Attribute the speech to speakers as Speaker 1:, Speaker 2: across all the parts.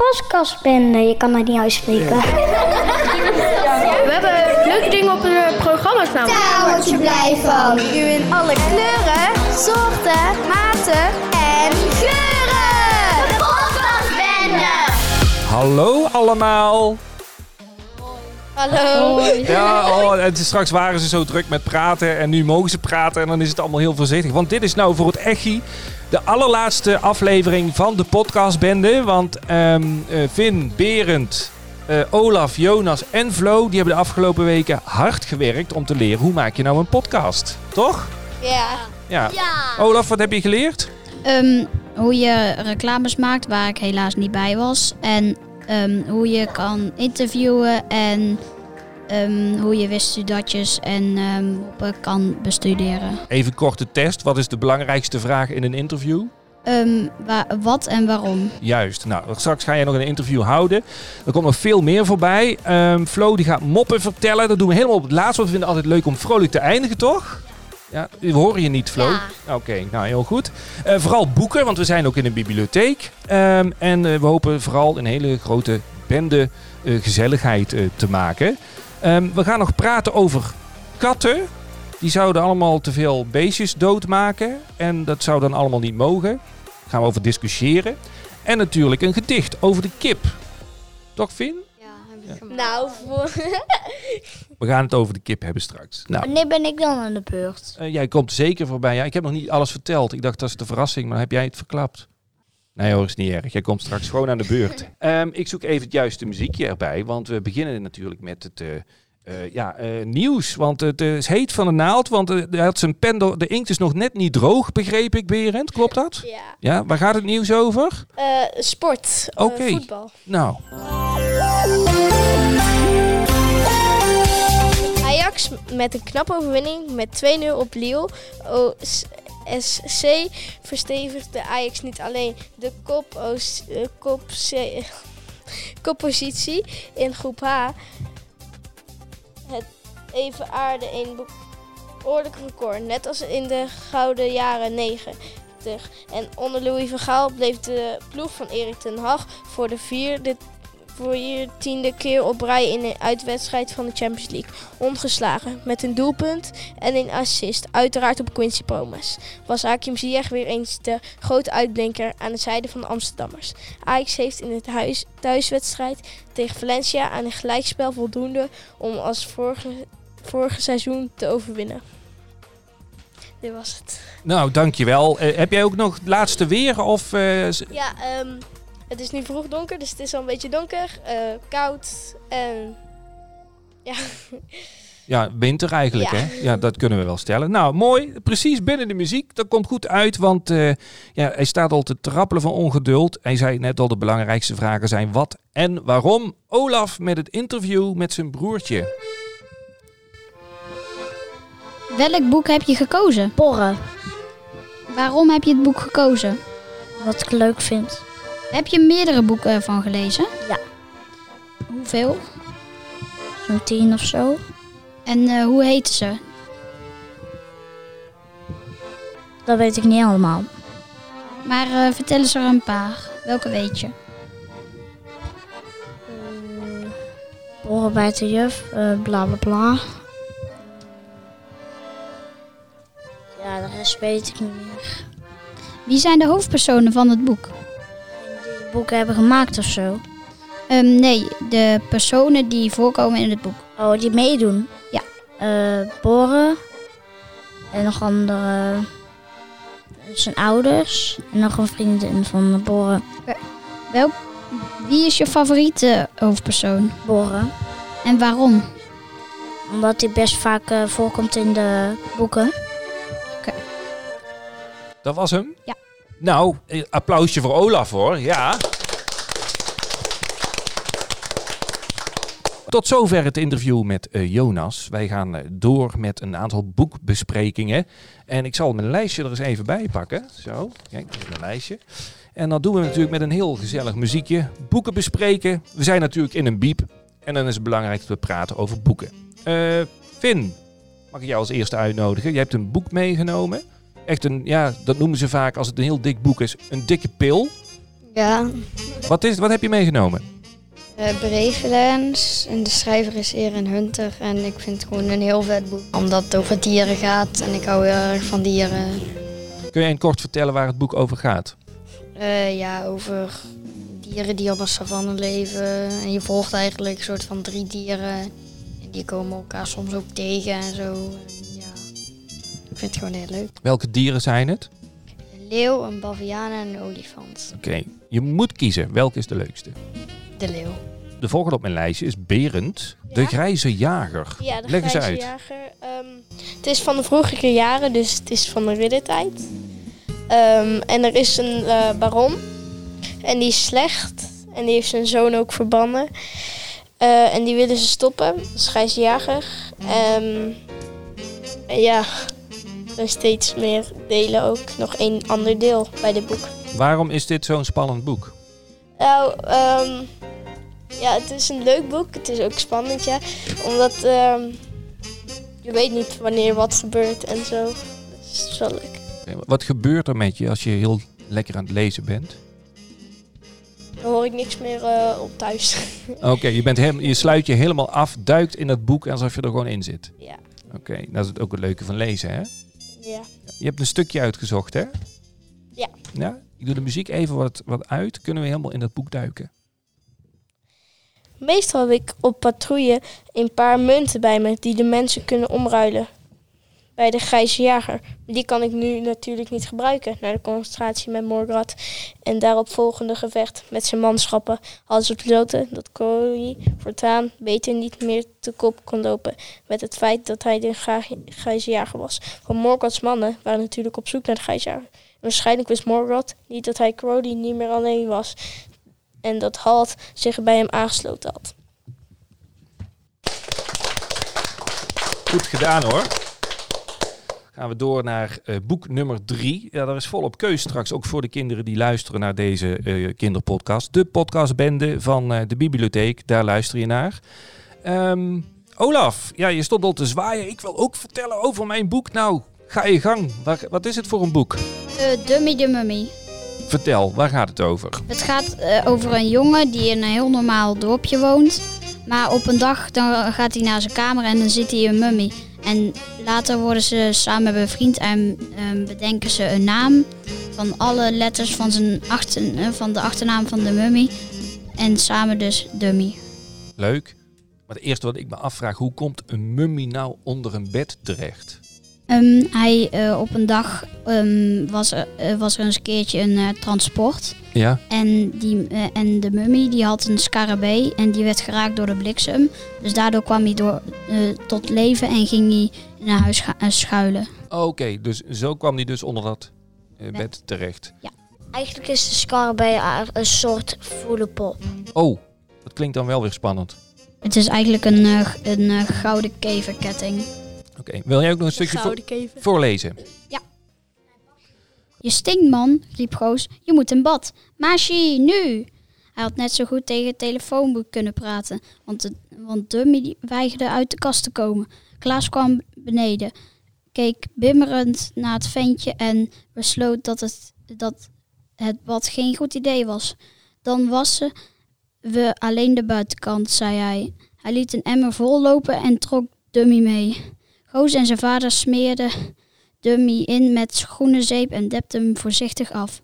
Speaker 1: podcast ben. Eh, Je kan dat niet uitspreken.
Speaker 2: We hebben leuke dingen op de programma's namelijk.
Speaker 3: Daar word je blij van.
Speaker 4: U in alle kleuren, soorten, maten en geuren.
Speaker 3: Podcastbende.
Speaker 5: Hallo allemaal.
Speaker 4: Hallo.
Speaker 5: Ja, oh, en straks waren ze zo druk met praten en nu mogen ze praten en dan is het allemaal heel voorzichtig. Want dit is nou voor het echi de allerlaatste aflevering van de podcastbende. Want ehm eh, Vin, Berend, eh, Olaf, Jonas en Flo, die hebben de afgelopen weken hard gewerkt om te leren hoe maak je nou een podcast. Toch?
Speaker 4: Ja.
Speaker 5: Ja. Olaf, wat heb je geleerd?
Speaker 6: Ehm, hoe je reclames maakt, waar ik helaas niet bij was. En ehm, hoe je kan interviewen en ehm, hoe je wisseldatjes en ehm, moppen kan bestuderen.
Speaker 5: Even korte test. Wat is de belangrijkste vraag in een interview?
Speaker 6: Ehm, wa- wat en waarom?
Speaker 5: Juist. Nou, straks ga jij nog een interview houden. Er komt nog veel meer voorbij. Ehm, Flo die gaat moppen vertellen. Dat doen we helemaal op het laatst. Want we vinden het altijd leuk om vrolijk te eindigen, toch? Ja, we horen je niet, Flo. Oké, nou heel goed. Eh, vooral boeken, want we zijn ook in een bibliotheek. Ehm, en eh, we hopen vooral een hele grote bende eh, gezelligheid eh, te maken. Ehm, we gaan nog praten over katten. Die zouden allemaal te veel beestjes doodmaken. En dat zou dan allemaal niet mogen. Daar gaan we over discussiëren. En natuurlijk een gedicht over de kip. Toch, Vin?
Speaker 4: Nou, voor...
Speaker 5: We gaan het over de kip hebben straks. Nou,
Speaker 1: Wanneer ben ik dan aan de beurt?
Speaker 5: eh, jij komt zeker voorbij. Ja, ik heb nog niet alles verteld. Ik dacht, dat is de verrassing, maar heb jij het verklapt? Nee hoor, is niet erg. Jij komt straks gewoon aan de beurt. Ehm, ik zoek even het juiste muziekje erbij, want we beginnen natuurlijk met het... eh, eh, ja, eh, nieuws, want het eh, is heet van de naald, want eh, hij had zijn pen door- de inkt is nog net niet droog, begreep ik, Berend. Klopt dat?
Speaker 2: Ja.
Speaker 5: Ja, waar gaat het nieuws over?
Speaker 2: Eh, sport. Eh,
Speaker 5: Oké.
Speaker 2: voetbal.
Speaker 5: Nou,
Speaker 2: Ajax met een knappe overwinning met 2-0 op Lille. OSC verstevigde Ajax niet alleen de kop, OS eh, kop C, eh, koppositie in groep H. Het evenaarde een behoorlijk record, net als in de gouden jaren 90. En onder Louis van Gaal bleef de ploeg van Erik ten Hag voor de vierde voor je tiende keer op rij in een uitwedstrijd van de Champions League. Ongeslagen, met een doelpunt en een assist, uiteraard op Quincy Promes. Was Hakim Ziyech weer eens de grote uitblinker aan de zijde van de Amsterdammers. Ajax heeft in het huis, thuiswedstrijd tegen Valencia aan een gelijkspel voldoende om als vorige, vorige seizoen te overwinnen. Dit was het.
Speaker 5: Nou, dankjewel. Eh, heb jij ook nog het laatste weer? Of, eh, z-
Speaker 2: Ja, ehm, het is nu vroeg donker, dus het is al een beetje donker, eh, koud en... Ja.
Speaker 5: ja, winter eigenlijk,
Speaker 2: Ja.
Speaker 5: hè? Ja, dat kunnen we wel stellen. Nou, mooi. Precies binnen de muziek. Dat komt goed uit, want eh, ja, hij staat al te trappelen van ongeduld. Hij zei net al, de belangrijkste vragen zijn wat en waarom. Olaf met het interview met zijn broertje.
Speaker 6: Welk boek heb je gekozen?
Speaker 1: Porren.
Speaker 6: Waarom heb je het boek gekozen?
Speaker 1: Wat ik leuk vind.
Speaker 6: Heb je meerdere boeken van gelezen?
Speaker 1: Ja.
Speaker 6: Hoeveel?
Speaker 1: Zo'n tien of zo.
Speaker 6: En eh, hoe heten ze?
Speaker 1: Dat weet ik niet allemaal.
Speaker 6: Maar eh, vertel eens er een paar. Welke weet je?
Speaker 1: Porren Eh, bij de juf. eh, bla bla bla. Ja, de rest weet ik niet meer.
Speaker 6: Wie zijn de hoofdpersonen van het boek?
Speaker 1: Die de boeken hebben gemaakt of zo.
Speaker 6: Ehm, nee, de personen die voorkomen in het boek.
Speaker 1: Oh, die meedoen?
Speaker 6: Ja.
Speaker 1: Eh, Boren. En nog andere. eh, Zijn ouders. En nog een vriendin van de Boren.
Speaker 6: Welk, wie is je favoriete hoofdpersoon
Speaker 1: Boren.
Speaker 6: en waarom?
Speaker 1: Omdat die best vaak eh, voorkomt in de boeken.
Speaker 5: Dat was hem?
Speaker 6: Ja.
Speaker 5: Nou, eh, applausje voor Olaf, hoor. Ja. Tot zover het interview met eh, Jonas. Wij gaan eh, door met een aantal boekbesprekingen. En ik zal mijn lijstje er eens even bij pakken. Zo, kijk, dit is mijn lijstje. En dat doen we natuurlijk met een heel gezellig muziekje. Boeken bespreken. We zijn natuurlijk in een biep. En dan is het belangrijk dat we praten over boeken. Eh Finn, mag ik jou als eerste uitnodigen? Je hebt een boek meegenomen. Echt een, ja, dat noemen ze vaak als het een heel dik boek is, een dikke pil.
Speaker 4: Ja,
Speaker 5: Wat, is, wat heb je meegenomen?
Speaker 4: eh Brevelens. En de schrijver is Erin Hunter. En ik vind het gewoon een heel vet boek. Omdat het over dieren gaat. En ik hou heel erg van dieren.
Speaker 5: Kun je in kort vertellen waar het boek over gaat?
Speaker 4: Eh, ja, over dieren die op een savanne leven. En je volgt eigenlijk een soort van drie dieren. En die komen elkaar soms ook tegen en zo. En ja, ik vind het gewoon heel leuk.
Speaker 5: Welke dieren zijn het?
Speaker 4: Een leeuw, een baviaan en een olifant.
Speaker 5: Oké, je moet kiezen. Welke is de leukste?
Speaker 4: De leeuw.
Speaker 5: De volgende op mijn lijstje is Berend, de
Speaker 2: Ja?
Speaker 5: grijze jager.
Speaker 2: Ja, de
Speaker 5: Leg eens
Speaker 2: grijze
Speaker 5: uit.
Speaker 2: jager. ehm, het is van de vroegere jaren, dus het is van de riddertijd. Ehm, en er is een eh, baron. En die is slecht. En die heeft zijn zoon ook verbannen. Eh, en die willen ze stoppen. Dat is grijze jager. Ehm, en ja, er is steeds meer delen ook. Nog een ander deel bij dit boek.
Speaker 5: Waarom is dit zo'n spannend boek?
Speaker 2: Nou, ehm, ja, het is een leuk boek. Het is ook spannend, ja. Omdat ehm, je weet niet wanneer wat gebeurt en zo. Dus het is wel leuk.
Speaker 5: Oké, Eh, Wat gebeurt er met je als je heel lekker aan het lezen bent?
Speaker 2: Dan hoor ik niks meer eh, op thuis.
Speaker 5: Oké, je, bent helemaal- je sluit je helemaal af, duikt in dat boek alsof je er gewoon in zit.
Speaker 2: ja.
Speaker 5: Oké, dat is het ook het leuke van lezen, hè?
Speaker 2: ja.
Speaker 5: Je hebt een stukje uitgezocht, hè?
Speaker 2: Ja.
Speaker 5: Ja? Ik doe de muziek even wat, wat uit. Kunnen we helemaal in dat boek duiken?
Speaker 2: Meestal heb ik op patrouille een paar munten bij me die de mensen kunnen omruilen. Bij de grijze jager. Maar Die kan ik nu natuurlijk niet gebruiken. Na de concentratie met Morgrad en daarop volgende gevecht met zijn manschappen hadden ze besloten dat Cory voortaan beter niet meer te kop kon lopen. Met het feit dat hij de gra- grijze jager was. Want Morgoth's mannen waren natuurlijk op zoek naar de grijze jager. En waarschijnlijk wist Morgoth niet dat hij Crowley niet meer alleen was. En dat Halt zich bij hem aangesloten had.
Speaker 5: Goed gedaan, hoor. Gaan we door naar eh, boek nummer drie. Ja, daar is volop keus straks, ook voor de kinderen die luisteren naar deze eh, kinderpodcast. De podcastbende van eh, de bibliotheek, daar luister je naar. Ehm, Olaf, ja, je stond al te zwaaien. Ik wil ook vertellen over mijn boek. Nou, ga je gang. Waar- wat is het voor een boek?
Speaker 6: Eh, Dummy de Mummy.
Speaker 5: Vertel, waar gaat het over?
Speaker 6: Het gaat eh, over een jongen die in een heel normaal dorpje woont. Maar op een dag dan gaat hij naar zijn kamer en dan zit hij een mummy. En later worden ze samen bevriend en ehm, bedenken ze een naam van alle letters van, zijn achter, eh, van de achternaam van de mummy. En samen dus Dummy.
Speaker 5: Leuk. Maar het eerste wat ik me afvraag, hoe komt een mummie nou onder een bed terecht?
Speaker 6: Ehm, hij, eh, op een dag ehm, was, er, eh, was er eens een keertje een eh, transport.
Speaker 5: Ja.
Speaker 6: En, die, eh, en de mummie die had een scarabee en die werd geraakt door de bliksem. Dus daardoor kwam hij door, eh, tot leven en ging hij naar huis ga- eh, schuilen.
Speaker 5: Oké, dus zo kwam die dus onder dat eh, bed terecht.
Speaker 1: Eigenlijk is de scarabee a- een soort voelenpop.
Speaker 5: Oh, dat klinkt dan wel weer spannend.
Speaker 6: Het is eigenlijk een, eh, g- een eh, gouden keverketting.
Speaker 5: Oké, wil jij ook nog een stukje vo-
Speaker 2: Gouden kever.
Speaker 5: voorlezen?
Speaker 6: Je stinkt man, riep Goos. Je moet in bad. Maasje, nu! Hij had net zo goed tegen het telefoonboek kunnen praten, want, de, want Dummy die weigerde uit de kast te komen. Klaas kwam beneden, keek bimmerend naar het ventje en besloot dat het, dat het bad geen goed idee was. Dan wassen we alleen de buitenkant, zei hij. Hij liet een emmer vol lopen en trok Dummy mee. Goos en zijn vader smeerden Dummy in met groene zeep en depte hem voorzichtig af.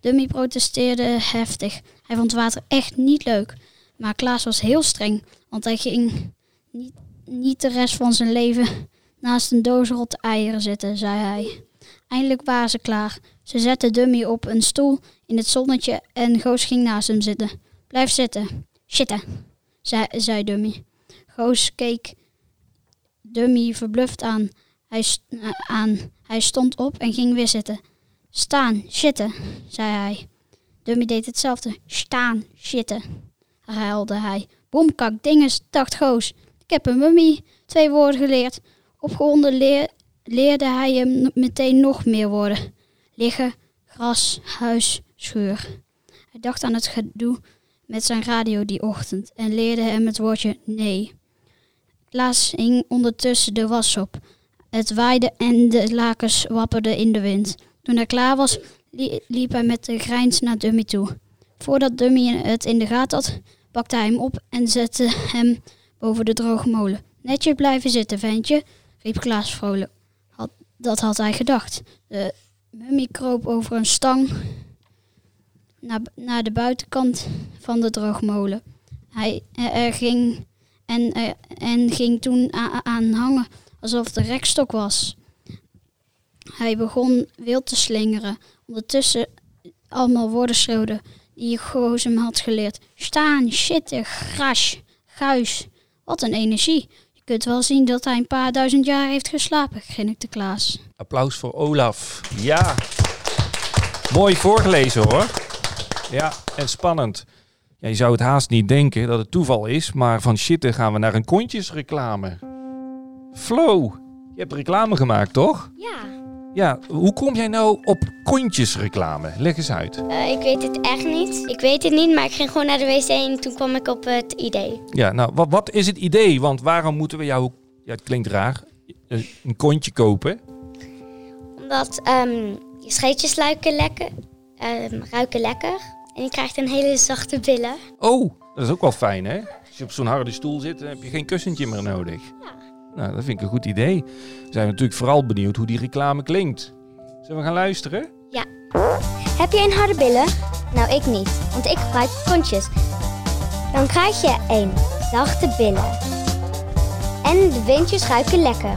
Speaker 6: Dummy protesteerde heftig. Hij vond water echt niet leuk. Maar Klaas was heel streng, want hij ging niet, niet de rest van zijn leven naast een doos rotte eieren zitten, zei hij. Eindelijk waren ze klaar. Ze zetten Dummy op een stoel in het zonnetje en Goos ging naast hem zitten. Blijf zitten. Zitten, zei, zei Dummy. Goos keek Dummy verbluft aan. Hij, st- eh, aan. hij stond op en ging weer zitten. Staan, zitten, zei hij. Dummy deed hetzelfde. Staan, zitten, herhaalde hij. Bomkak, dinges, dacht Goos. Ik heb een mummie twee woorden geleerd. Opgewonden leer- leerde hij hem n- meteen nog meer woorden. Liggen, gras, huis, schuur. Hij dacht aan het gedoe met zijn radio die ochtend en leerde hem het woordje nee. Klaas hing ondertussen de was op. Het waaide en de lakens wapperden in de wind. Toen hij klaar was, li- liep hij met de grijns naar Dummy toe. Voordat Dummy het in de gaten had, pakte hij hem op en zette hem boven de droge molen. Netjes blijven zitten, ventje, riep Klaas vrolijk. Had, dat had hij gedacht. De mummie kroop over een stang naar, naar de buitenkant van de droogmolen. Hij eh, eh, ging en, eh, en ging toen a- aan hangen alsof de rekstok was. Hij begon wild te slingeren. Ondertussen allemaal woorden schreeuwde die Goos hem had geleerd. Staan, shitten, gras, guis. Wat een energie. Je kunt wel zien dat hij een paar duizend jaar heeft geslapen, grinnikte Klaas.
Speaker 5: Applaus voor Olaf. Ja. Mooi voorgelezen hoor. Ja, en spannend. Ja, je zou het haast niet denken dat het toeval is, maar van shitten gaan we naar een kontjesreclame. Flo, je hebt reclame gemaakt toch?
Speaker 7: Ja,
Speaker 5: Ja, hoe kom jij nou op kontjesreclame? Leg eens uit.
Speaker 7: eh, ik weet het echt niet. Ik weet het niet, maar ik ging gewoon naar de wc en toen kwam ik op het idee.
Speaker 5: Ja, nou, wat, wat is het idee? Want waarom moeten we jou, ja, het klinkt raar, een een kontje kopen?
Speaker 7: Omdat ehm, je scheetjes ruiken lekker, ehm, ruiken lekker en je krijgt een hele zachte billen.
Speaker 5: Oh, dat is ook wel fijn, hè? Als je op zo'n harde stoel zit, dan heb je geen kussentje meer nodig. Nou, dat vind ik een goed idee. We zijn natuurlijk vooral benieuwd hoe die reclame klinkt. Zullen we gaan luisteren?
Speaker 7: Heb jij een harde billen? Nou, ik niet, want ik gebruik kontjes. Dan krijg je een zachte billen. En de windjes ruiken lekker.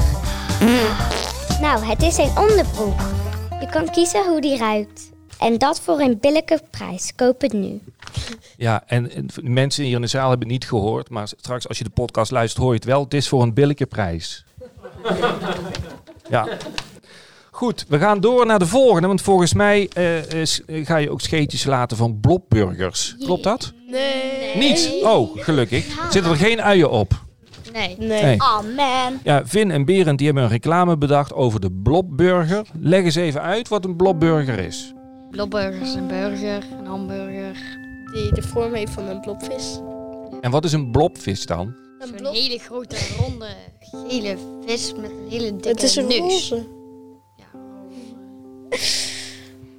Speaker 7: Nou, het is een onderbroek. Je kan kiezen hoe die ruikt. En dat voor een billijke prijs. Koop het nu.
Speaker 5: Ja, en, en de mensen hier in de zaal hebben het niet gehoord, maar straks als je de podcast luistert hoor je het wel. Het is voor een billijke prijs. ja. Goed, we gaan door naar de volgende, want volgens mij eh, eh, s- eh, ga je ook scheetjes laten van blobburgers. Klopt dat?
Speaker 2: Nee.
Speaker 5: Niets. Oh, gelukkig. Zitten er geen uien op?
Speaker 4: Nee.
Speaker 2: Nee.
Speaker 5: Nee.
Speaker 1: Oh man.
Speaker 5: Ja, Vin en Berend die hebben een reclame bedacht over de blobburger. Leg eens even uit wat een blobburger is.
Speaker 4: Blobburger is een burger, een hamburger.
Speaker 2: Die de vorm heeft van een blobvis.
Speaker 5: En wat is een blobvis dan?
Speaker 2: Een
Speaker 4: Zo'n hele grote, ronde, gele vis met een hele dikke
Speaker 2: Het is een
Speaker 4: neus.
Speaker 2: roze.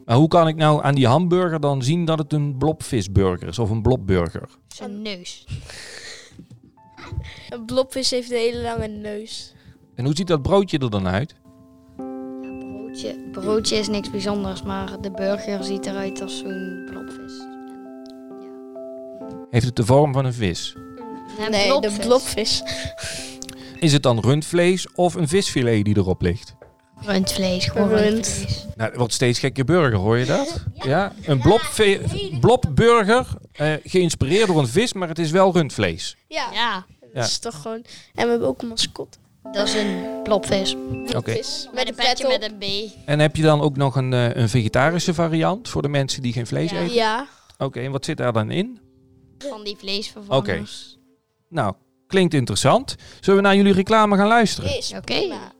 Speaker 5: Maar hoe kan ik nou aan die hamburger dan zien dat het een blobvisburger is of een blobburger?
Speaker 4: Zijn neus.
Speaker 2: Een blobvis heeft een hele lange neus.
Speaker 5: En hoe ziet dat broodje er dan uit?
Speaker 4: Ja, broodje. broodje is niks bijzonders, maar de burger ziet eruit als zo'n blobvis.
Speaker 5: Heeft het de vorm van een vis?
Speaker 4: Een
Speaker 2: nee, de blobvis.
Speaker 5: Is het dan rundvlees of een visfilet die erop ligt?
Speaker 4: Rundvlees, gewoon
Speaker 2: Rund.
Speaker 4: rundvlees.
Speaker 5: Nou, dat wordt steeds gekke burger, hoor je dat? Ja, een blobve- blobburger, eh, geïnspireerd door een vis, maar het is wel rundvlees.
Speaker 2: Ja,
Speaker 4: Ja,
Speaker 5: Ja.
Speaker 2: dat is toch gewoon... En we hebben ook een mascotte.
Speaker 4: dat is een blobvis.
Speaker 5: Oké.
Speaker 2: Blobvis.
Speaker 4: Met een petje met een B.
Speaker 5: En heb je dan ook nog een, eh, een vegetarische variant voor de mensen die geen vlees
Speaker 4: Ja.
Speaker 5: eten?
Speaker 2: Ja.
Speaker 5: Oké, en wat zit daar dan in?
Speaker 4: Van die vleesvervangers.
Speaker 5: Nou, klinkt interessant. Zullen we naar jullie reclame gaan luisteren?
Speaker 2: Is
Speaker 4: Oké.
Speaker 2: prima.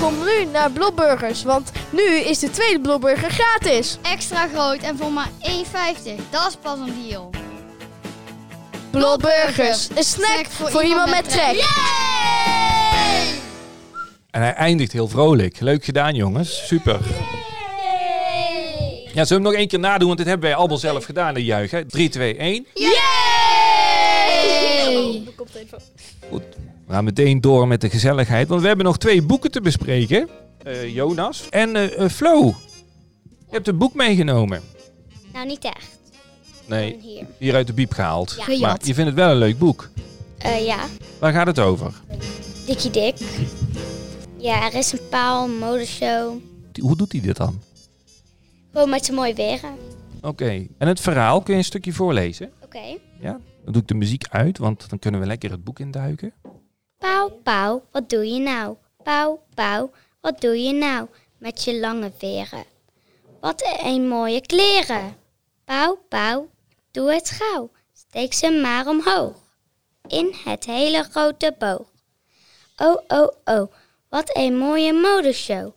Speaker 2: Kom nu naar Blobburgers, want nu is de tweede Blobburger gratis.
Speaker 7: Extra groot en voor maar 1,50. Dat is pas een deal.
Speaker 2: Blobburgers, een snack voor, iemand met trek.
Speaker 5: En hij eindigt heel vrolijk. Leuk gedaan, jongens. Super. Ja, zullen we hem nog één keer nadoen? Want dit hebben wij allemaal zelf gedaan, de juichen. 3, 2, 1. We gaan meteen door met de gezelligheid. Want we hebben nog twee boeken te bespreken. Eh, Jonas en eh, eh, Flo. Je hebt een boek meegenomen.
Speaker 7: Nou, niet echt.
Speaker 5: Nee,
Speaker 7: Gewoon Hier.
Speaker 5: hier uit de biep gehaald.
Speaker 7: Ja.
Speaker 5: Maar je vindt het wel een leuk boek.
Speaker 7: Eh, ja,
Speaker 5: Waar gaat het over?
Speaker 7: Dikkie Dik. Ja, er is een paal, een modeshow.
Speaker 5: Hoe doet hij dit dan?
Speaker 7: Gewoon met zijn mooi weren.
Speaker 5: Oké, en het verhaal kun je een stukje voorlezen?
Speaker 7: Oké.
Speaker 5: Ja? Dan doe ik de muziek uit, want dan kunnen we lekker het boek induiken.
Speaker 7: Pauw, pauw, wat doe je nou? Pauw, pauw, wat doe je nou? Met je lange veren. Wat een mooie kleren. Pauw, pauw, doe het gauw. Steek ze maar omhoog. In het hele grote boog. Oh, oh, oh, wat een mooie modeshow.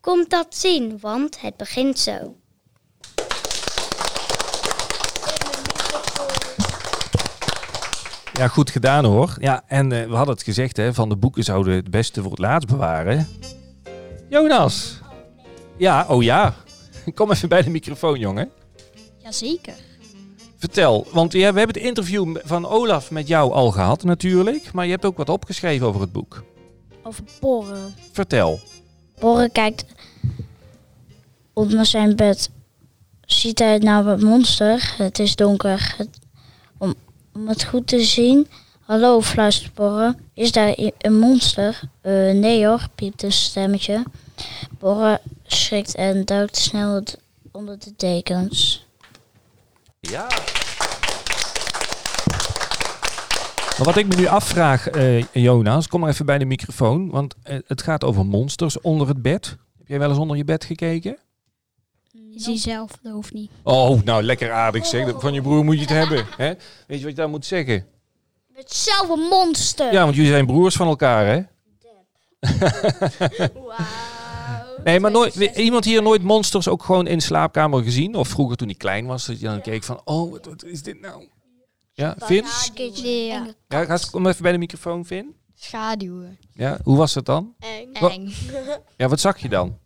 Speaker 7: Komt dat zien, want het begint zo.
Speaker 5: Ja, goed gedaan hoor. Ja, en eh, we hadden het gezegd, hè, van de boeken zouden we het beste voor het laatst bewaren. Jonas! Ja, oh ja. Kom even bij de microfoon, jongen.
Speaker 6: Jazeker.
Speaker 5: Vertel, want ja, we hebben het interview m- van Olaf met jou al gehad natuurlijk. Maar je hebt ook wat opgeschreven over het boek.
Speaker 1: Over boren.
Speaker 5: Vertel.
Speaker 1: Boren kijkt onder zijn bed. Ziet hij nou het monster? Het is donker. Het- om, om het goed te zien. Hallo, fluistert Borre. Is daar i- een monster? "Eh, nee hoor, piept een stemmetje. Borre schrikt en duikt snel het- onder de dekens.
Speaker 5: Ja. Maar wat ik me nu afvraag, eh, Jonas, kom maar even bij de microfoon. Want eh, het gaat over monsters onder het bed. Heb jij wel eens onder je bed gekeken?
Speaker 6: Zie zelf, dat hoeft niet.
Speaker 5: Oh, nou lekker aardig zeg. Van je broer moet je het hebben. Hè? Weet je wat je daar moet zeggen?
Speaker 1: Hetzelfde monster!
Speaker 5: Ja, want jullie zijn broers van elkaar, hè? Nee, maar nooit, iemand hier nooit monsters ook gewoon in de slaapkamer gezien? Of vroeger toen ik klein was, dat je dan keek van, oh, wat, wat is dit nou? Ja, Vin?
Speaker 4: Ja.
Speaker 5: Ja, ga eens- kom even bij de microfoon, Vin.
Speaker 4: Schaduwen.
Speaker 5: Ja, hoe was het dan?
Speaker 2: Eng.
Speaker 5: Wa-
Speaker 4: Eng.
Speaker 5: Ja, wat zag je dan?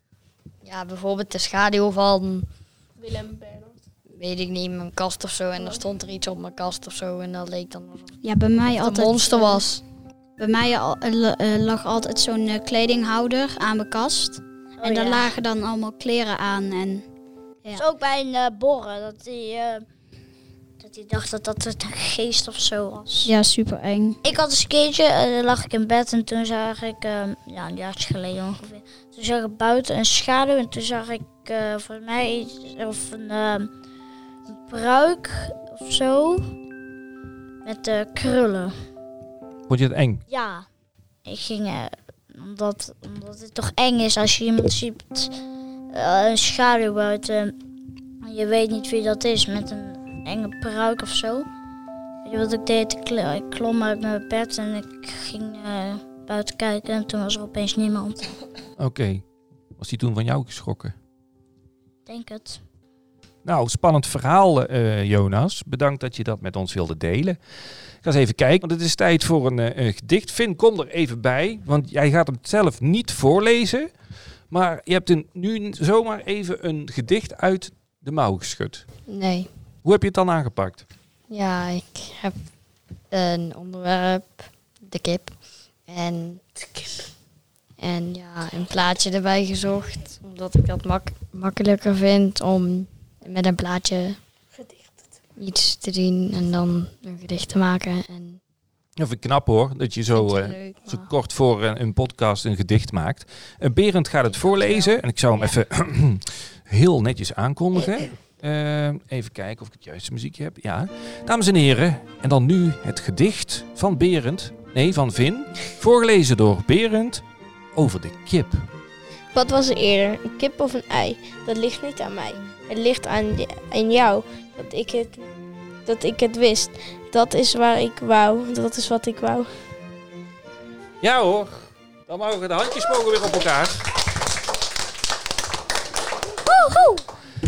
Speaker 4: Ja, bijvoorbeeld de schaduw van,
Speaker 2: Willem Bernhard.
Speaker 4: weet ik niet, mijn kast of zo. En dan stond er iets op mijn kast of zo. En dat leek dan alsof
Speaker 6: Ja, bij mij
Speaker 4: het
Speaker 6: altijd.
Speaker 4: een monster
Speaker 6: eh,
Speaker 4: was.
Speaker 6: Bij mij al- eh, la- eh, lag altijd zo'n eh, kledinghouder aan mijn kast. en daar
Speaker 1: ja.
Speaker 6: lagen dan allemaal kleren aan. En
Speaker 1: Het is ook bij een eh, borren dat hij eh, dat hij dacht dat dat het een geest of zo was.
Speaker 6: ja, super eng.
Speaker 1: Ik had eens een keertje, eh, dan lag ik in bed en toen zag ik, eh, ja een jaartje geleden ongeveer, toen zag ik buiten een schaduw en toen zag ik eh, voor mij iets, of een, eh, een pruik of zo met eh, krullen.
Speaker 5: Vond je het eng?
Speaker 1: Ja, ik ging, eh, omdat, omdat het toch eng is als je iemand ziet, eh, een schaduw buiten. Je weet niet wie dat is, met een enge pruik of zo. Weet je wat ik deed? Ik, kl- ik klom uit mijn bed en ik ging eh, buiten kijken en toen was er opeens niemand.
Speaker 5: Oké. Was die toen van jou geschrokken?
Speaker 1: Ik denk het.
Speaker 5: Nou, spannend verhaal, eh, Jonas. Bedankt dat je dat met ons wilde delen. Ik ga eens even kijken, want het is tijd voor een, eh, een gedicht. Vin, kom er even bij, want jij gaat hem zelf niet voorlezen. Maar je hebt een, nu zomaar even een gedicht uit de mouw geschud.
Speaker 4: Nee.
Speaker 5: Hoe heb je het dan aangepakt?
Speaker 4: Ja, ik heb een onderwerp, de kip. En, en ja, een plaatje erbij gezocht. Omdat ik dat mak makkelijker vind om met een plaatje iets te doen en dan een gedicht te maken. En
Speaker 5: Ja, vind ik knap hoor, dat je zo,
Speaker 4: Vind
Speaker 5: eh,
Speaker 4: ik leuk,
Speaker 5: zo
Speaker 4: maar-
Speaker 5: kort voor een, een podcast een gedicht maakt. En Berend gaat het voorlezen en ik zou hem even heel netjes aankondigen. Eh, even kijken of ik het juiste muziekje heb. Ja, dames en heren, en dan nu het gedicht van Berend, nee van Vin, voorgelezen door Berend over de kip.
Speaker 2: Wat was er eerder, een kip of een ei? Dat ligt niet aan mij. Het ligt aan, j- aan jou dat ik, het, dat ik het wist. Dat is waar ik wou. Dat is wat ik wou.
Speaker 5: Ja hoor, dan mogen de handjes mogen weer op elkaar.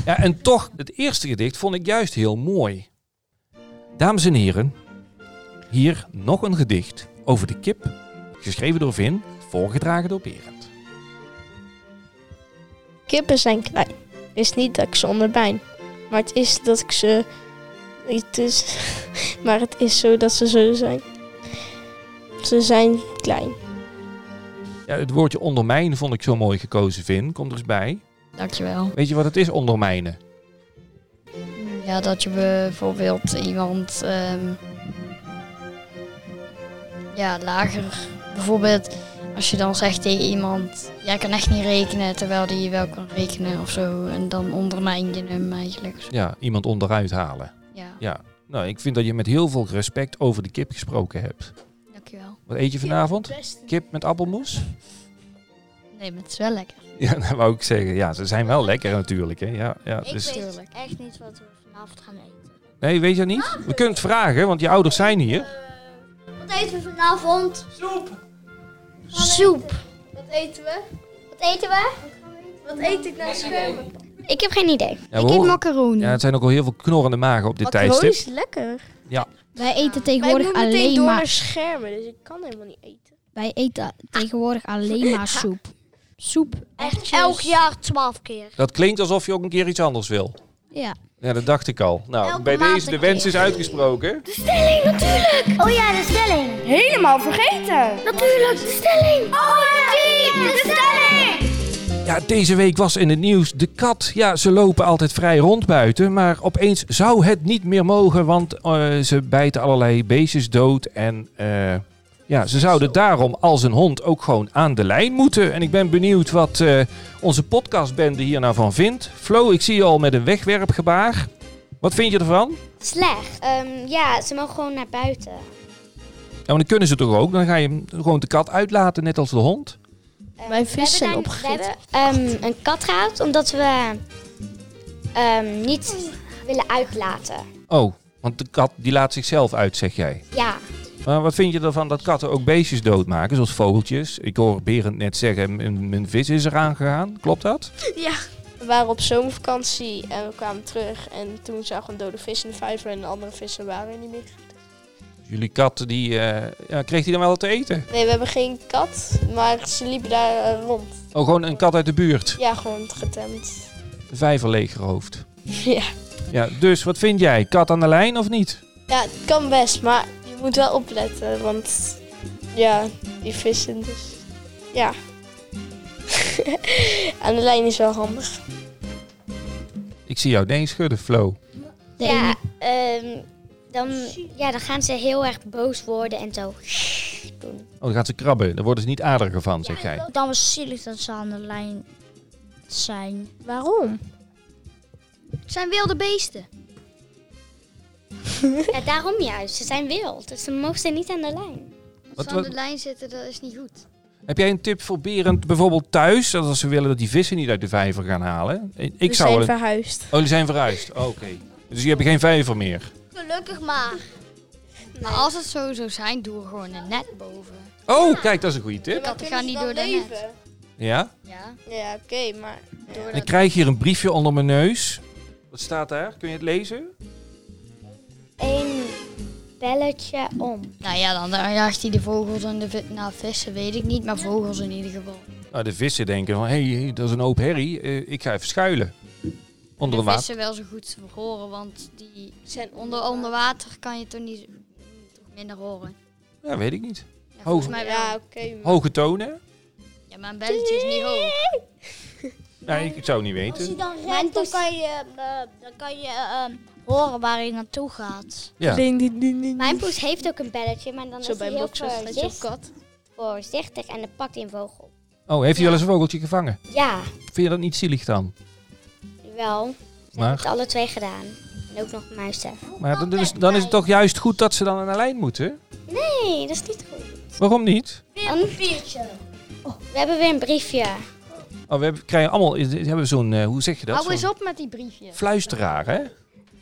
Speaker 5: Ja, en toch, het eerste gedicht vond ik juist heel mooi. Dames en heren, hier nog een gedicht over de kip, geschreven door Vin, voorgedragen door Berend.
Speaker 2: Kippen zijn klein. Het is niet dat ik ze onderbijn. Maar het is dat ik ze. Het is, maar het is zo dat ze zo zijn. Ze zijn klein.
Speaker 5: Ja, het woordje ondermijnen vond ik zo mooi gekozen, Vin. Kom er eens bij.
Speaker 4: dankjewel.
Speaker 5: Weet je wat het is, ondermijnen?
Speaker 4: Ja, dat je bijvoorbeeld iemand ehm, ja, lager. Bijvoorbeeld als je dan zegt tegen iemand, jij kan echt niet rekenen, terwijl die je wel kan rekenen of zo. En dan ondermijn je hem eigenlijk.
Speaker 5: Ja, iemand onderuit halen.
Speaker 4: Ja,
Speaker 5: Ja, nou, ik vind dat je met heel veel respect over de kip gesproken hebt.
Speaker 4: dankjewel.
Speaker 5: Wat eet je vanavond? Kip met appelmoes?
Speaker 4: Nee, maar het is wel lekker.
Speaker 5: Ja, dat wou ik zeggen. Ja, ze zijn wel lekker natuurlijk. Hè. Ja, ja,
Speaker 1: Ik
Speaker 5: dus...
Speaker 1: weet
Speaker 4: Tuurlijk.
Speaker 1: echt niet wat we vanavond gaan eten.
Speaker 5: Nee, weet je dat
Speaker 7: Ah,
Speaker 5: niet? We kunnen het vragen, want je ouders zijn
Speaker 7: Eh,
Speaker 5: hier.
Speaker 7: Wat eten we vanavond? Soep. Soep. Wat eten we?
Speaker 2: Wat eet ik nou zo?
Speaker 7: Ik heb geen idee.
Speaker 5: Ja, we horen...
Speaker 6: macaroon.
Speaker 5: ja, het zijn ook al heel veel knorrende magen op dit
Speaker 2: Macaroni
Speaker 5: tijdstip.
Speaker 2: is lekker.
Speaker 6: Wij eten
Speaker 2: Maar ik
Speaker 6: tegenwoordig
Speaker 2: moet meteen
Speaker 6: alleen
Speaker 2: door naar
Speaker 6: maar.
Speaker 2: schermen, dus ik kan helemaal niet eten.
Speaker 6: Wij eten tegenwoordig alleen
Speaker 4: Ah.
Speaker 6: maar soep. Soep.
Speaker 1: Echt elk jaar twaalf keer.
Speaker 5: Dat klinkt alsof je ook een keer iets anders wil.
Speaker 6: Ja.
Speaker 5: Ja, dat dacht ik al. Nou,
Speaker 7: Elke
Speaker 5: bij
Speaker 7: maand
Speaker 5: deze, de
Speaker 7: een
Speaker 5: wens
Speaker 7: keer.
Speaker 5: is uitgesproken.
Speaker 7: De stelling natuurlijk! Oh ja, de stelling!
Speaker 8: Helemaal vergeten.
Speaker 7: Natuurlijk, de stelling! Oh team, de stelling!
Speaker 5: Ja, deze week was in het nieuws de kat. Ja, ze lopen altijd vrij rond buiten. Maar opeens zou het niet meer mogen, want eh, ze bijten allerlei beestjes dood. En eh, ja, ze zouden daarom als een hond ook gewoon aan de lijn moeten. En ik ben benieuwd wat eh, onze podcastbende hier nou van vindt. Flo, ik zie je al met een wegwerpgebaar. Wat vind je ervan?
Speaker 7: Slecht. Ehm, ja, ze mogen gewoon naar buiten.
Speaker 5: Ja, maar dan kunnen ze toch ook? Dan ga je hem gewoon de kat uitlaten, net als de hond.
Speaker 7: Ehm,
Speaker 8: Mijn
Speaker 7: we
Speaker 8: vis zijn
Speaker 7: hebben daar-
Speaker 8: opgegeten.
Speaker 7: We hebben ehm, een kat gehaald omdat we ehm, niet willen uitlaten.
Speaker 5: Oh, want de kat die laat zichzelf uit, zeg jij.
Speaker 7: Ja,
Speaker 5: Maar wat vind je ervan dat katten ook beestjes doodmaken, zoals vogeltjes? Ik hoor Berend net zeggen, mijn, mijn vis is eraan gegaan. Klopt dat?
Speaker 2: We waren op zomervakantie en we kwamen terug. En toen zagen we een dode vis in de vijver en de andere vissen waren er niet meer.
Speaker 5: Jullie kat, die, eh, ja, kreeg die dan wel wat te eten?
Speaker 2: Nee, we hebben geen kat, maar ze liepen daar eh, rond.
Speaker 5: Oh, gewoon een kat uit de buurt.
Speaker 2: Ja, gewoon getemd.
Speaker 5: De vijver leeggeroofd.
Speaker 2: Ja.
Speaker 5: Ja, dus wat vind jij? Kat aan de lijn of niet?
Speaker 2: Ja, het kan best, maar je moet wel opletten, want ja, die vissen dus. Ja. Aan de lijn is wel handig.
Speaker 5: Ik zie jou nee schudden, Flo.
Speaker 7: ja, ehm, dan, ja, dan gaan ze heel erg boos worden en zo.
Speaker 5: Oh, dan gaat ze krabben. Daar worden ze niet aderiger van, zeg jij.
Speaker 1: Dan was het zielig dat ze aan de lijn zijn.
Speaker 8: Waarom?
Speaker 7: Het zijn wilde beesten. ja, daarom juist. Ze zijn wild, dus ze mogen ze niet aan de lijn.
Speaker 5: Wat-
Speaker 4: Als ze aan
Speaker 5: wat-
Speaker 4: de lijn zitten, dat is niet goed.
Speaker 5: Heb jij een tip voor Berend bijvoorbeeld thuis? Dat als ze willen dat die vissen niet uit de vijver gaan halen. Ik
Speaker 2: We
Speaker 5: zou
Speaker 2: zijn
Speaker 5: wel een-
Speaker 2: verhuisd.
Speaker 5: Oh, die zijn verhuisd. Oké. Dus je hebt geen vijver meer.
Speaker 7: Gelukkig maar.
Speaker 4: Maar als het zo zou zijn, doe er gewoon een net boven.
Speaker 5: Oh, kijk, dat is een goede tip.
Speaker 4: Katten gaan niet door de net.
Speaker 5: Ja.
Speaker 4: Ja.
Speaker 2: Ja, oké, maar door
Speaker 5: Ik krijg hier een briefje onder mijn neus. Wat staat daar? Kun je het lezen?
Speaker 7: Eén belletje om.
Speaker 4: Nou ja, dan dan jaagt hij de vogels en de vi- nou, vissen, weet ik niet, maar vogels in ieder geval.
Speaker 5: Nou, de vissen denken van, hé, hey, dat is een hoop herrie. Eh, ik ga even schuilen. Onder
Speaker 4: De
Speaker 5: de water.
Speaker 4: vissen wel zo goed te horen, want die
Speaker 2: zijn
Speaker 4: onder, onder water kan je toch niet toch minder horen.
Speaker 5: Ja, weet ik niet.
Speaker 4: Ja, volgens
Speaker 5: Hoog.
Speaker 4: mij wel.
Speaker 2: Ja, oké. maar-
Speaker 5: Hoge tonen?
Speaker 4: Ja, maar een belletje is niet hoog.
Speaker 5: Nou, ik, ik zou het niet weten.
Speaker 1: dan rent, dan kan je, eh, dan kan je ehm, horen waar hij naartoe gaat.
Speaker 5: Ja.
Speaker 2: Ding, ding, ding, ding.
Speaker 7: Mijn poes heeft ook een belletje, maar dan
Speaker 2: Zo
Speaker 7: is
Speaker 2: bij
Speaker 7: hij heel
Speaker 2: boxers dat je op
Speaker 7: voorzicht-
Speaker 2: kat.
Speaker 7: voorzichtig en dan pakt hij een vogel.
Speaker 5: Oh, heeft hij wel eens een vogeltje gevangen?
Speaker 7: Ja,
Speaker 5: Vind je dat niet zielig dan?
Speaker 7: wel. Ze hebben
Speaker 5: Maar,
Speaker 7: het alle twee gedaan. En ook nog muizen.
Speaker 5: maar dan, is, dan is het toch juist goed dat ze dan aan de lijn moeten?
Speaker 7: Nee, dat is niet goed.
Speaker 5: Waarom niet?
Speaker 7: een biertje. Oh, we hebben weer een briefje.
Speaker 5: Oh, we hebben, krijgen allemaal we hebben zo'n, eh, hoe zeg je dat?
Speaker 4: Hou eens
Speaker 5: Zo'n
Speaker 4: op met die briefjes.
Speaker 5: Fluisteraar, hè?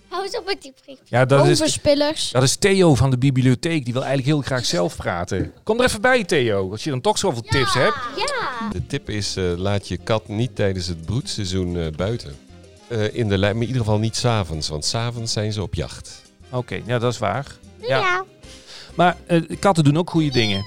Speaker 7: Hou eens op met die brief.
Speaker 5: Ja, dat is,
Speaker 8: Overspillers.
Speaker 5: dat is Theo van de bibliotheek. Die wil eigenlijk heel graag zelf praten. Kom er even bij, Theo. Als je dan toch zoveel tips hebt.
Speaker 7: Ja.
Speaker 9: De tip is, eh, laat je kat niet tijdens het broedseizoen eh, buiten. Eh, in de lijn, maar in ieder geval niet s'avonds, want s'avonds zijn ze op jacht.
Speaker 5: Oké, ja, dat is waar. Ja.
Speaker 7: ja.
Speaker 5: Maar eh, katten doen ook goede dingen.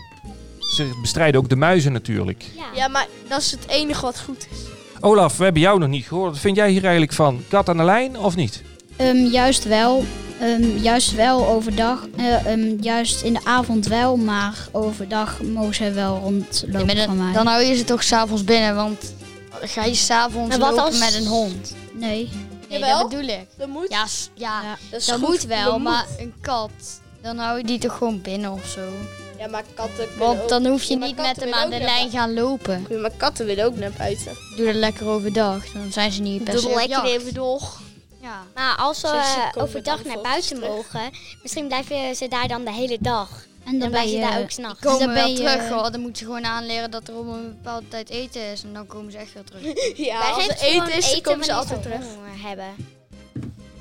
Speaker 5: Ze bestrijden ook de muizen natuurlijk.
Speaker 4: Ah.
Speaker 2: Ja, maar dat is het enige wat goed is.
Speaker 5: Olaf, we hebben jou nog niet gehoord. Wat vind jij hier eigenlijk van? Kat aan de lijn of niet?
Speaker 6: Ehm, juist wel. Ehm, juist wel overdag. Eh, ehm, juist in de avond wel, maar overdag mogen ze wel
Speaker 4: Ja,
Speaker 6: rondlopen
Speaker 4: maar
Speaker 6: van mij.
Speaker 4: dan, dan hou je ze toch s'avonds binnen, want ga je s'avonds
Speaker 7: Maar wat
Speaker 4: lopen
Speaker 7: als-
Speaker 4: met een hond?
Speaker 6: Nee.
Speaker 4: Nee,
Speaker 2: Jawel.
Speaker 4: dat bedoel ik.
Speaker 2: Dat moet.
Speaker 4: Ja, s- ja,
Speaker 6: Ja,
Speaker 2: dat is
Speaker 4: dat
Speaker 2: goed,
Speaker 4: moet wel,
Speaker 2: dat
Speaker 4: maar een kat, dan hou je die toch gewoon binnen of zo.
Speaker 2: moet. Ja, maar katten kunnen ook-
Speaker 4: Want dan hoef
Speaker 2: Ja,
Speaker 4: je
Speaker 2: maar
Speaker 4: niet met
Speaker 2: katten
Speaker 4: hem
Speaker 2: willen
Speaker 4: aan de
Speaker 2: ook
Speaker 4: lijn gaan lopen.
Speaker 2: naar- Ja, maar katten willen ook naar buiten.
Speaker 4: Doe dat lekker overdag, dan zijn ze niet per se op jacht.
Speaker 2: even door.
Speaker 4: Ja.
Speaker 7: Maar als
Speaker 2: Zo, ze
Speaker 7: we
Speaker 2: komen
Speaker 7: overdag
Speaker 2: dan
Speaker 7: naar
Speaker 2: volgens
Speaker 7: buiten
Speaker 2: terug.
Speaker 7: mogen, misschien blijven ze daar dan de hele dag.
Speaker 6: En
Speaker 7: Dan
Speaker 6: dan ben
Speaker 7: blijven ze
Speaker 6: je
Speaker 7: daar ook s'nachts.
Speaker 4: Komen
Speaker 6: dan ben
Speaker 4: wel
Speaker 6: je-
Speaker 4: terug hoor, dan moeten ze gewoon aanleren dat er om een bepaalde tijd eten is en dan komen ze echt weer
Speaker 6: Mm.
Speaker 4: terug.
Speaker 2: Ja, als
Speaker 7: geven
Speaker 2: er
Speaker 7: ze gewoon
Speaker 2: eten is, dan komen ze
Speaker 7: wanneer
Speaker 2: altijd terug.
Speaker 7: honger hebben.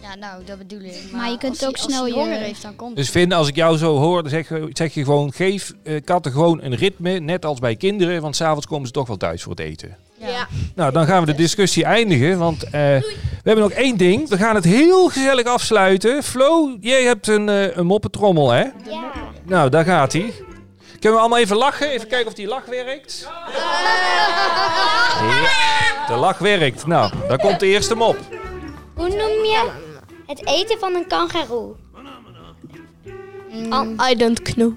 Speaker 4: Ja, nou, dat bedoel ik. Maar,
Speaker 6: je kunt
Speaker 4: als
Speaker 6: ook
Speaker 4: hij-
Speaker 6: snel
Speaker 4: als
Speaker 6: je-
Speaker 4: hij honger heeft, dan komt
Speaker 5: Dus Vin, als ik jou zo hoor, dan zeg, zeg je gewoon... geef eh, katten gewoon een ritme, net als bij kinderen. Want s'avonds komen ze toch wel thuis voor het eten.
Speaker 4: Ja.
Speaker 5: Nou, dan gaan we de discussie eindigen. Want eh, we hebben nog één ding. We gaan het heel gezellig afsluiten. Flo, jij hebt een, eh een moppetrommel, hè?
Speaker 7: Ja.
Speaker 5: Nou, daar gaat hij. Kunnen we allemaal even lachen? Even kijken of die lach werkt. Ja, de lach werkt. Nou, daar komt de eerste mop.
Speaker 7: Hoe noem je Het eten van een kangaroe.
Speaker 2: I don't know.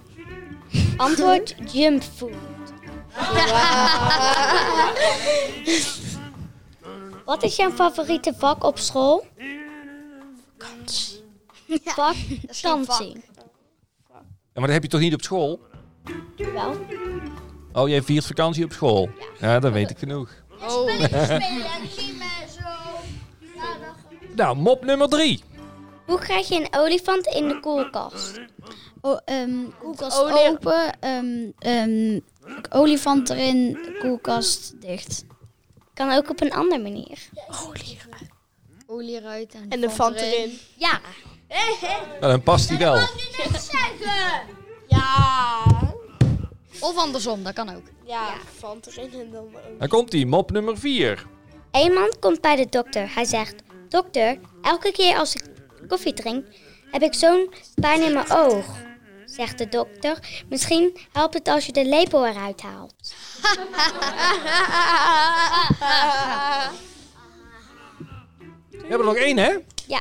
Speaker 7: Antwoord jump food. Wat is jouw favoriete vak op school? Vakantie. Vak kanting.
Speaker 5: Ja, maar dat heb je toch niet op school?
Speaker 7: Wel.
Speaker 5: Oh, jij viert vakantie op school? Ja, dat weet ik genoeg. Nou, mop nummer drie.
Speaker 7: Hoe krijg je een olifant in de koelkast?
Speaker 6: Oh, ehm, koelkast
Speaker 2: Olie-
Speaker 6: open, ehm, ehm, olifant erin, koelkast dicht.
Speaker 7: Kan ook op een andere manier.
Speaker 4: Olie eruit en,
Speaker 2: En de vant erin.
Speaker 7: Ja.
Speaker 5: Nou, dan past hij wel.
Speaker 2: Ja.
Speaker 4: Of andersom, dat kan ook.
Speaker 2: Ja, vant erin en dan ook.
Speaker 5: Dan komt hij, mop nummer vier.
Speaker 7: Een man komt bij de dokter. Hij zegt: Dokter, elke keer als ik koffie drink, heb ik zo'n pijn in mijn oog. Zegt de dokter: Misschien helpt het als je de lepel eruit haalt.
Speaker 5: We hebben er nog één, hè?
Speaker 7: Ja.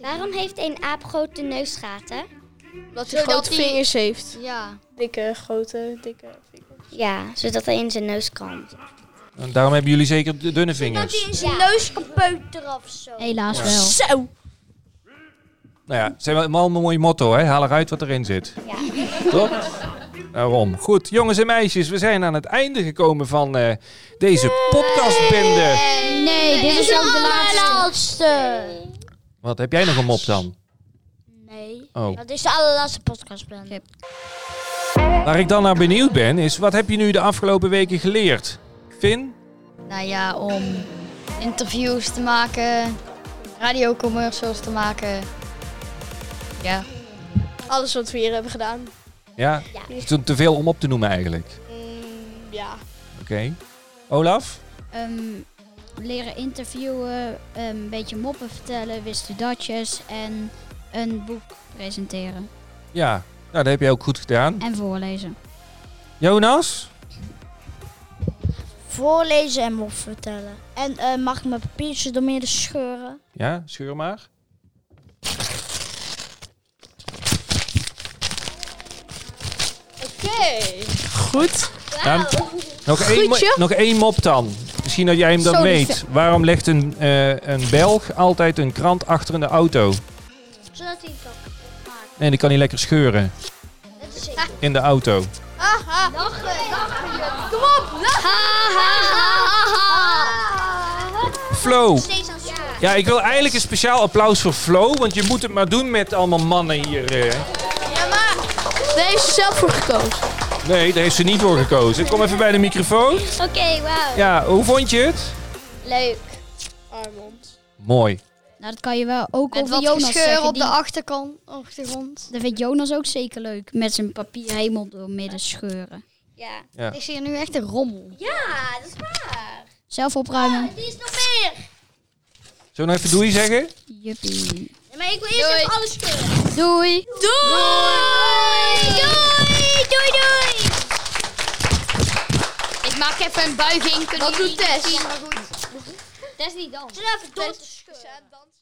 Speaker 7: Waarom heeft een aap grote neusgaten?
Speaker 2: Wat hij grote vingers heeft.
Speaker 4: Ja.
Speaker 2: Dikke, grote, dikke vingers.
Speaker 7: Ja, zodat hij in zijn neus kan.
Speaker 5: En daarom hebben jullie zeker d- dunne vingers.
Speaker 7: In zijn neus kan peuteren of zo.
Speaker 6: Helaas wel.
Speaker 2: Zo!
Speaker 5: Nou ja, het zijn wel allemaal een mooi motto, hè? Haal eruit wat erin zit.
Speaker 7: Ja.
Speaker 5: Toch? Daarom. Goed, jongens en meisjes, we zijn aan het einde gekomen van eh, deze podcastbende.
Speaker 6: Nee, dit is
Speaker 7: Ah,
Speaker 6: ook de laatste.
Speaker 1: Laatste.
Speaker 5: Wat heb jij nog een mop dan?
Speaker 1: Nee.
Speaker 5: Oh.
Speaker 1: Dat is de allerlaatste podcast, Ben.
Speaker 5: Waar ik dan naar benieuwd ben, is wat heb je nu de afgelopen weken geleerd? Finn?
Speaker 4: Nou ja, om interviews te maken, radiocommercials te maken. Ja.
Speaker 2: Alles wat we hier hebben gedaan.
Speaker 5: Ja? Het is te veel om op te noemen eigenlijk.
Speaker 2: Mm, ja.
Speaker 5: Oké. Olaf?
Speaker 6: Ehm, leren interviewen, ehm, een beetje moppen vertellen, wistudadjes en een boek presenteren
Speaker 5: Ja, nou, dat heb jij ook goed gedaan.
Speaker 6: en voorlezen.
Speaker 5: Jonas?
Speaker 1: Voorlezen en mop vertellen. En eh, mag ik mijn papiertje door midden scheuren?
Speaker 5: Ja, scheur maar.
Speaker 2: Oké. Goed.
Speaker 5: Dan, nog, één, mo-
Speaker 2: joh.
Speaker 5: nog één mop dan. Misschien dat jij hem dan
Speaker 2: Zo, die
Speaker 5: weet. Waarom legt een, eh, een Belg altijd een krant achter in de auto?
Speaker 1: Zodat hij kan.
Speaker 5: Nee, die kan hij lekker scheuren. In de auto. Flo. Ja, ik wil eigenlijk een speciaal applaus voor Flo. Want je moet het maar doen met allemaal mannen hier. eh.
Speaker 2: Ja, maar daar heeft ze zelf voor gekozen.
Speaker 5: Nee, daar heeft ze niet voor gekozen. Kom even bij de microfoon.
Speaker 7: Oké, wauw.
Speaker 5: Ja, hoe vond je het?
Speaker 7: Leuk.
Speaker 2: Armond.
Speaker 5: Mooi.
Speaker 6: Nou, dat kan je wel ook
Speaker 4: Met
Speaker 6: over
Speaker 4: wat
Speaker 6: Jonas
Speaker 7: eh,
Speaker 4: gescheur
Speaker 6: zeggen.
Speaker 4: op
Speaker 6: die-
Speaker 4: de achterkant, achtergrond.
Speaker 6: Dat vindt Jonas ook zeker leuk, met zijn papier helemaal door midden scheuren.
Speaker 7: Ja.
Speaker 5: Ja.
Speaker 4: Ik zie hier nu echt een rommel.
Speaker 7: Ja, dat is waar.
Speaker 6: Zelf opruimen.
Speaker 7: Die is nog meer.
Speaker 5: Zullen we nog even doei zeggen?
Speaker 4: Ah.
Speaker 6: Juppie.
Speaker 7: Maar ik wil eerst even alles scheuren.
Speaker 6: Doei.
Speaker 7: Doei! Doei! Doei, doei!
Speaker 4: Ik maak even een buiging.
Speaker 2: Wat doet Tess?
Speaker 4: Dat is niet dan.
Speaker 7: Zullen we even door te
Speaker 2: Tess aan het dansen.